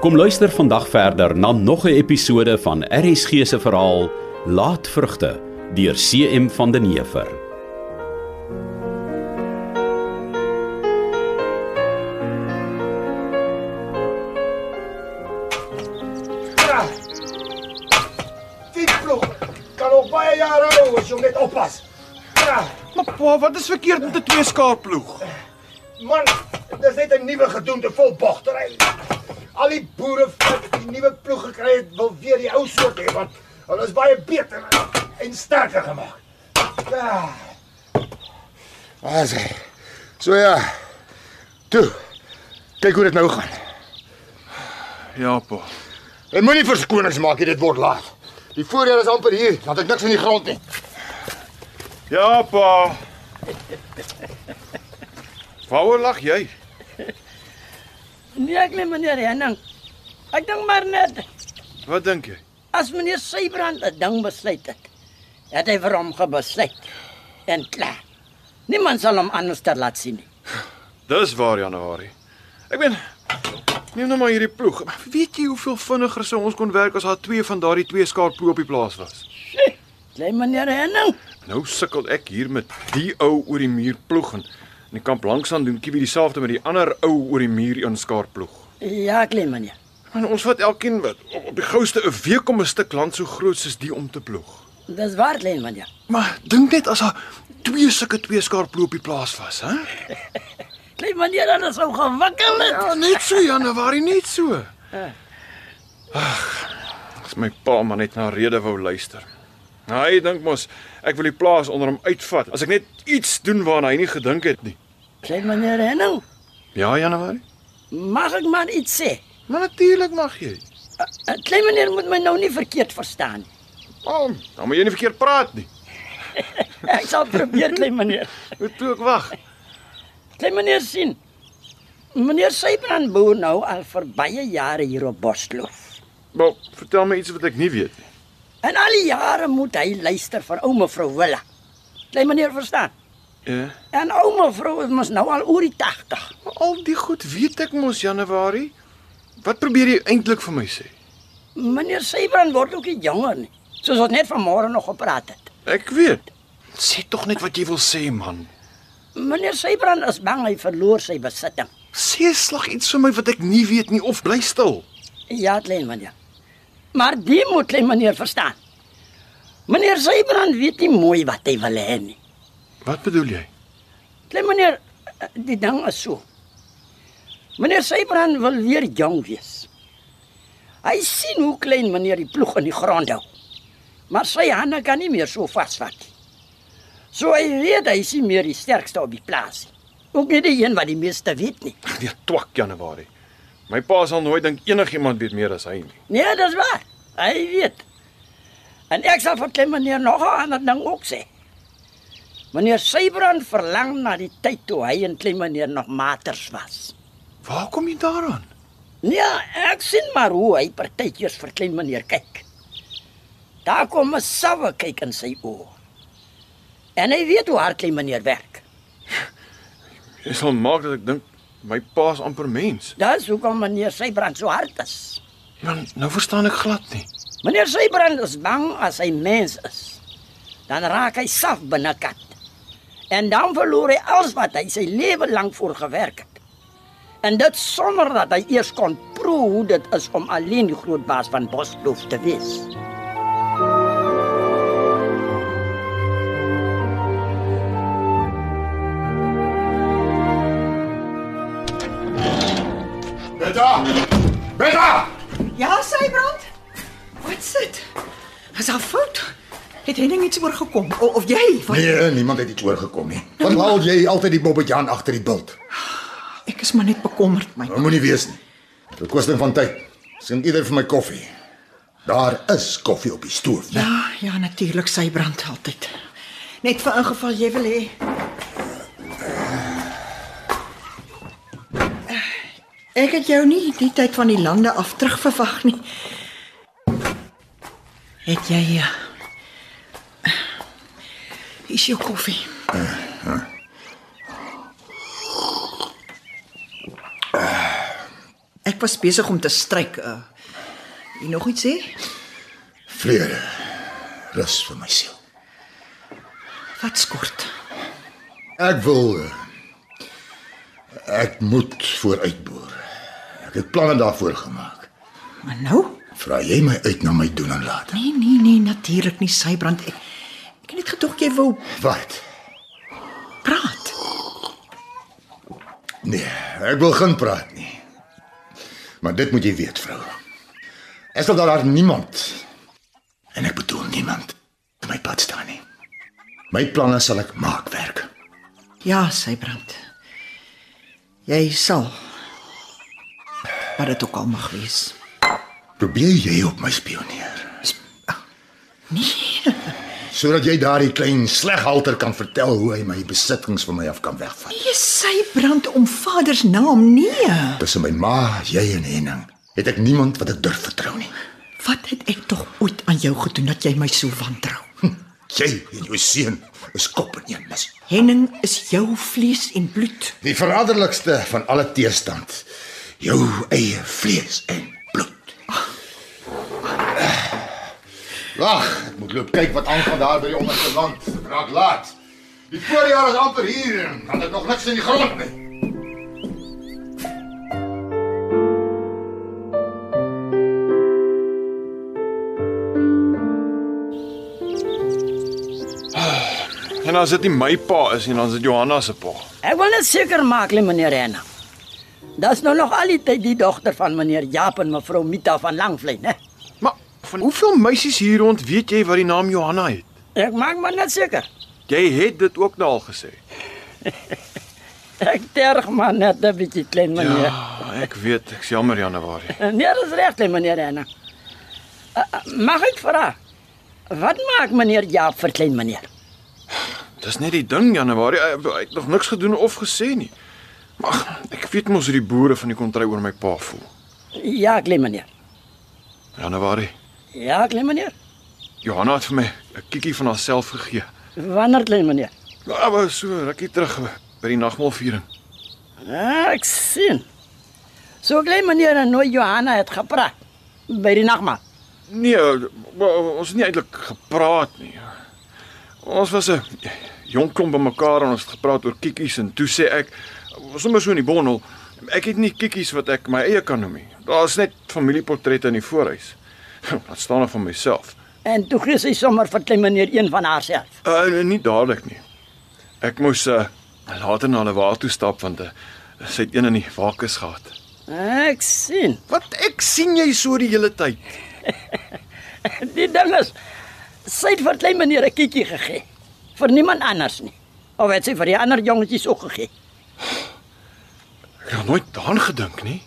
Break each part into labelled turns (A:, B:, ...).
A: Kom luister vandag verder na nog 'n episode van RSG se verhaal Laatvrugte deur CM van den Heever.
B: Die ploeg kan nog baie jare hou as jy hom net oppas. Ja,
C: Maar pa, wat is verkeerd met 'n twee skaar ploeg?
B: man, dis net 'n nuwe gedoente vol bogtery. Al die boere wat die nuwe ploeg gekry het, wil weer die ou soort hê want hulle is baie beter en sterker gemaak. Ja,
D: As hy. So ja. Toe. Kyk hoe dit nou gaan.
C: Ja, pa.
D: Jy moenie verskonings maak nie, dit word laat. Die voorjaar is amper hier, dan het ek niks in die grond nie.
C: Ja, pa. Waaroor lag jy?
E: Nee, ek neem meneer Henning. Ek dink maar net
C: Wat dink jy?
E: as meneer Sybrand 'n ding besluit het, het hy vir hom gebesluit. En klaar. Niemand sal hom anders ter laat sien nie.
C: Dis waar Januarie. Ek meen neem nou maar hierdie ploeg. Weet jy hoeveel vinniger sou ons kon werk as daar twee van daardie twee skaar ploeg op die plaas was?
E: Klein meneer Henning,
C: Nou sukkel ek hier met die ou oor die muur ploeg en in die kamp langs aan doen Kiwi dieselfde met die ander ou oor die muur een skaar ploeg.
E: ja, klein meneer.
C: En ons vat elkeen wat op op die gouste 'n week om 'n stuk land so groot soos die om te ploeg.
E: Dis waar, klein meneer.
C: Maar dink net as daar twee sulke twee skaar ploeg op die plaas was, hè?
E: Klein meneer, dan sou gewikkel het.
C: Ja, net so Januarie, net so. Eh. Ag, as my pa maar net na rede wou luister. Nou, hy dink mos ek wil die plaas onder hom uitvat as ek net iets doen waarna hy nie gedink het nie.
E: Klein meneer Henning,
C: Ja, Januarie.
E: mag ek maar iets sê?
C: Maar natuurlik mag jy.
E: Eh, eh, Klein meneer moet my nou nie verkeerd verstaan nie.
C: Kom, dan moet jy nie verkeerd praat nie.
E: Ek sal probeer, klein meneer.
C: Moet toe ek wag.
E: Klein meneer sien. Meneer Sybrand boer nou al vir baie jare hier op Bosloof.
C: Maar vertel my iets wat ek nie weet nie.
E: En al die jare moet hy luister vir ou mevrou Willa. Klein meneer verstaan.
C: Ja.
E: En ou mevrou is mos nou al oor die 80.
C: Maar al die goed weet ek mos Januarie. Wat probeer jy eintlik vir my sê?
E: Meneer Sybrand word ook nie jonger nie. Soos ons net vanmôre nog gepraat het.
C: Ek weet. Sê tog net wat jy wil sê, man.
E: Meneer Sybrand is bang hy verloor sy besitting.
C: Sê 'n slag iets vir my wat ek nie weet nie of bly stil.
E: Ja, klein meneer. Maar die moet klein meneer verstaan. Meneer Sybrand weet nie mooi wat hy wil hê nie.
C: Wat bedoel jy?
E: Klein meneer, die ding is so. Meneer Sybrand wil weer jong wees. Hy sien hoe klein meneer die ploeg in die grond hou. Maar sy hande kan nie meer so vasvat nie. So hy weet hy is nie meer die sterkste op die plaas nie. Ook nie die een wat die meeste weet nie.
C: Weer nee, twak Januarie. My pa sal nooit dink enigiemand weet meer as hy nie.
E: Nee, dis waar. Hy weet. En ek sal vir klein meneer nog 'n ander ding ook sê. Meneer Sybrand verlang na die tyd toe hy en klein meneer nog maters was.
C: Waar kom jy daaraan?
E: Ja, ek sien maar hoe hy partytjies vir klein meneer kyk. Daar kom 'n sawe kyk in sy oë. En hy weet hoe hard klein meneer werk.
C: Jy sal maak dat ek dink my pa's amper mens.
E: Dis hoekom meneer Sybrand so hard is.
C: Man, nou verstaan ek glad nie.
E: Meneer Sybrand is bang as hy mens is. Dan raak hy saf binnekant. En dan verloor hy alles wat hy sy lewe lank voor gewerk het. En dit sonder dat hy eers kon proe hoe dit is om alleen die groot baas van Boskloof te wees.
D: Beta! Beta!
F: Ja, Sybrand. Wat sit? Is daar fout? Het Henning iets oorgekom o, of jy? Wat?
D: Nee, niemand het iets oorgekom nie. Wat laal jy altyd die bobbejaan agter die bult?
F: Ek is maar net bekommerd my.
D: Nou moenie wees nie. Dit kos net van tyd. Sien eerder vir my koffie. Daar is koffie op die stoof, né?
F: Ja, ja, natuurlik Sybrand altyd. Net vir ingeval jy wil hê. Ek het jou nie die tyd van die lande af terug verwag nie. Het jy eh, Hier is jou koffie. Ek was besig om te stryk. Uh. Jy nog iets sê?
D: Vrede. Rus vir my siel.
F: Wat skort?
D: Ek wil eh, ek moet vooruitboer. Ek het planne daarvoor gemaak.
F: Maar nou?
D: Vra jy my uit na my doen en laat.
F: Nee, nee, nee, natuurlik nie, Sybrand. Ek ek het net gedog jy wou
D: Wat?
F: praat.
D: Nee, ek wil geen praat nie. Maar dit moet jy weet, vrou. Is daar daar niemand en ek bedoel niemand in my pad staan nie. My planne sal ek maak werk.
F: Ja, Sybrand. Jy sal. Wat dit ook al mag wees.
D: Probeer jy op my spioneer
F: Nee,
D: sodat jy daardie klein sleghalter kan vertel hoe hy my besittings van my af kan wegvat.
F: jy Sybrand om vader se naam nee.
D: Tussen my ma, jy en Henning, het ek niemand wat ek durf vertrou nie.
F: Wat het ek tog ooit aan jou gedoen dat jy my so wantrou?
D: Jy en jou seun is kop in een mis.
F: Henning is jou vlees en bloed.
D: Die verraderlikste van alle teerstand, jou eie vlees en bloed. Wag, ek moet loop kyk wat aangaan daar by die onderste land. Raak laat. Die voorjaar is amper hier en dan het nog niks in die grond nie.
C: En as dit nie my pa is nie, dan is dit Johanna se pa.
E: Ek wil net seker maak, lê meneer Renna. Dis nou nog al die tyd die dogter van meneer Jaap en mevrou Mita van Langvlei, né?
C: Maar van hoeveel meisies hier rond weet jy wat die naam Johanna het?
E: Ek maak maar net seker.
C: Jy het dit ook nou al gesê.
E: Ek terg maar net 'n bietjie klein meneer.
C: Ah, ek weet, ek's jammer Januarie.
E: Ja. Nee, dis reg, lê meneer Renna. Uh, uh, Mag ek vra? Wat maak meneer Jaap vir klein meneer?
C: Dis net die ding Januarie, hy hy het nog niks gedoen of gesê nie. Maar ek weet mos hoe die boere van die kontry oor my pa voel.
E: Ja, klein meneer.
C: Januarie,
E: Ja, klein meneer.
C: Johanna het vir my 'n kiekie van haarself gegee.
E: Wanneer klein meneer?
C: Ja, maar so rukkie terug by die nagmaalviering.
E: Ah, ek sien. So klein meneer en nou Johanna het gepraat by die nagmaal.
C: Nee, maar ons het nie eintlik gepraat nie. Ons was 'n jong klomp bymekaar en ons het gepraat oor kiekies en toe sê ek sommer so in die bondel, ek het nie kiekies wat ek my eie kan noem nie. Daar's net familieportrette in die voorhuis. Laat staan nog van myself.
E: En toe gee sy sommer vir klein meneer een van haarself.
C: Uh, nie dadelik nie. Ek moes uh, later na hulle waar toe stap want uh, sy het een in die wakes gehad.
E: Ek sien.
C: Wat ek sien jy so die hele tyd.
E: Die ding is sy het vir klein meneer 'n kiekie gegee. Vir niemand anders nie. Of het sy vir die ander jongetjies ook gegee?
C: Ek het nog nooit daaraan gedink nie.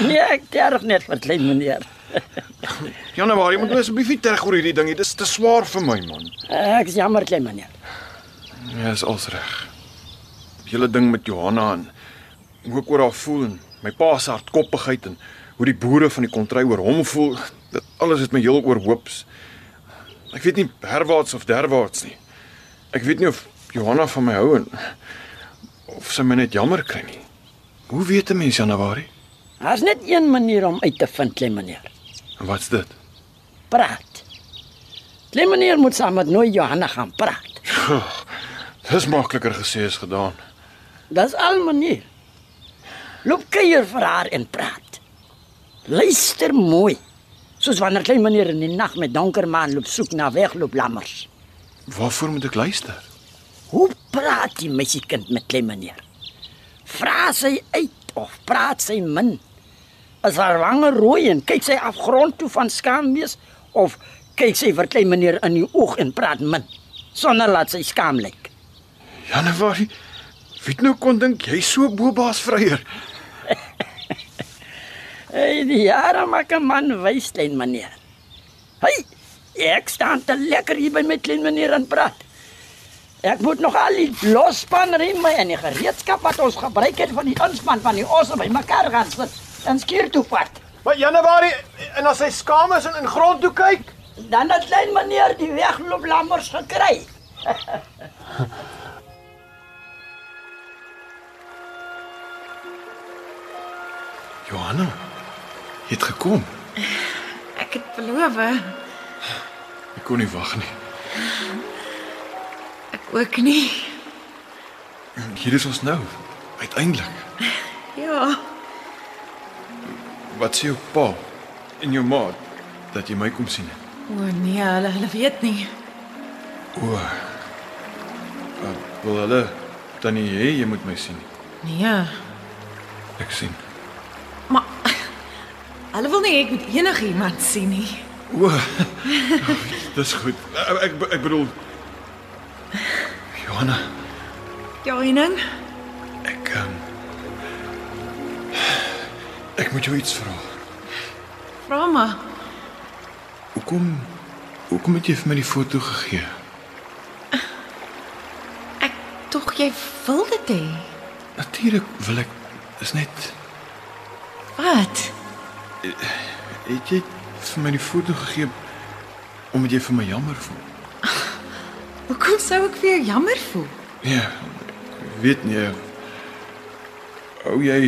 E: Nee, ek terg net vir klein meneer.
C: Januarie, nou moet my asseblief nie terg oor hierdie ding nie. Dis te swaar vir my man.
E: Ek is jammer klein meneer.
C: Ja, is als reg. Die hele ding met Johanna en hoe ek oor haar voel en my pa se hardkoppigheid en hoe die boere van die kontry oor hom voel, dit alles het my heel oorhoops. Ek weet nie herwaarts of derwaarts nie. Ek weet nie of Johanna van my hou en of sy my net jammer kry nie. Hoe weet 'n mens Januarie?
E: Daar's net een manier om uit te vind klein meneer.
C: En wat's dit?
E: Praat. Klein meneer moet saam met Nooi Johanna gaan praat.
C: Dis makliker gesê as gedaan.
E: Dis al manier. Loop kuier vir haar en praat. Luister mooi. Soos wanneer klein meneer in die nag met donker maan loop soek na weglooplammers.
C: Waarvoor moet ek luister?
E: Hoe praat die meisiekind met klein meneer? Vra sy uit of praat sy min? As haar wange rooi en kyk sy afgrond toe van skaam wees of kyk sy vir klein meneer in die oog en praat min sonder laat sy skaam lyk.
C: Januarie. Wie het nou kon dink jy so bobaas vryer?
E: Hey, die jare maak 'n man wys, klein meneer. Hey, ek staan te lekker hier by my klein meneer aan praat. Ek moet nog al die losspanrieme en die gereedskap wat ons gebruik het van die inspan van die osse bymekaar gaan sit en skuur toe vat.
C: Maar Januarie en as hy skaam is en in grond toe kyk,
E: Dan het klein meneer die weglooplammers gekry.
C: Johanna, jy het gekom.
G: Ek het beloof,
C: Ek kon nie wag nie.
G: ek ook nie.
C: En hier is ons nou. Uiteindelik.
G: Ja,
C: Wat sê jou pa en jou ma dat jy my kom sien?
G: o nee, hulle hulle weet nie.
C: O. Uh, wil hulle dan nie hê jy moet my sien nie.
G: Nee,
C: Ek sien.
G: maar hulle wil nie ek moet enigiemand sien nie.
C: O. Dis goed. Ek ek, ek bedoel Johanna,
G: Ja, Henning,
C: ek um, ek moet jou iets vra.
G: vra maar.
C: Hoekom hoekom het jy vir my die foto gegee?
G: Ek tog jy wil dit hê.
C: Natuurlik wil ek is net
G: Wat?
C: het jy vir my die foto gegee omdat jy vir my jammer voel.
G: Hoekom sou ek vir jou jammer voel?
C: Nee, ek weet nie. Ou jy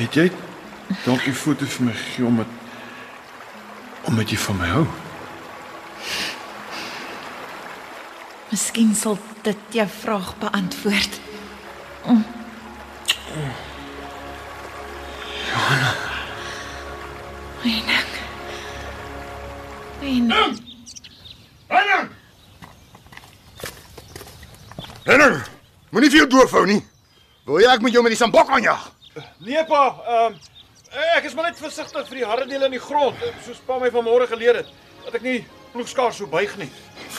C: Het jy dalk die foto vir my gegee omdat omdat jy van my hou?
G: Miskien sal dit jou vraag beantwoord. Mm. Johanna. Henning. Henning.
D: Henning! Henning, moenie vir jou doofhou nie. Wil jy ek moet jou met die sambok aanjaag?
C: Nee pa, ehm um, ek is maar net versigtig vir die hardedele in die grond, soos pa my vanmôre geleer het, dat ek nie ploegskaar so buig nie.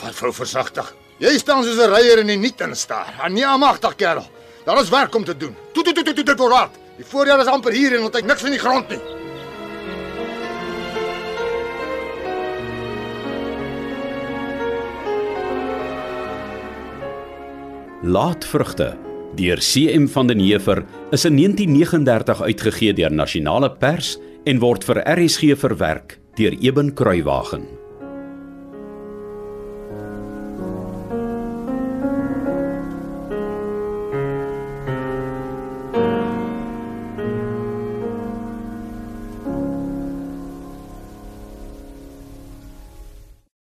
D: Van vrou versigtig. Jy staan soos 'n ryer in die niet in staar. Aan nie aanmagtig kerel. Daar is werk om te doen. Toe toe toe toe toe dit word hard. Die voorjaar is amper hier en ons het niks van die grond nie.
A: Laatvrugte deur CM van den Heever is in 1939 uitgegee deur Nasionale Pers en word vir RSG verwerk deur Eben Kruiwagen.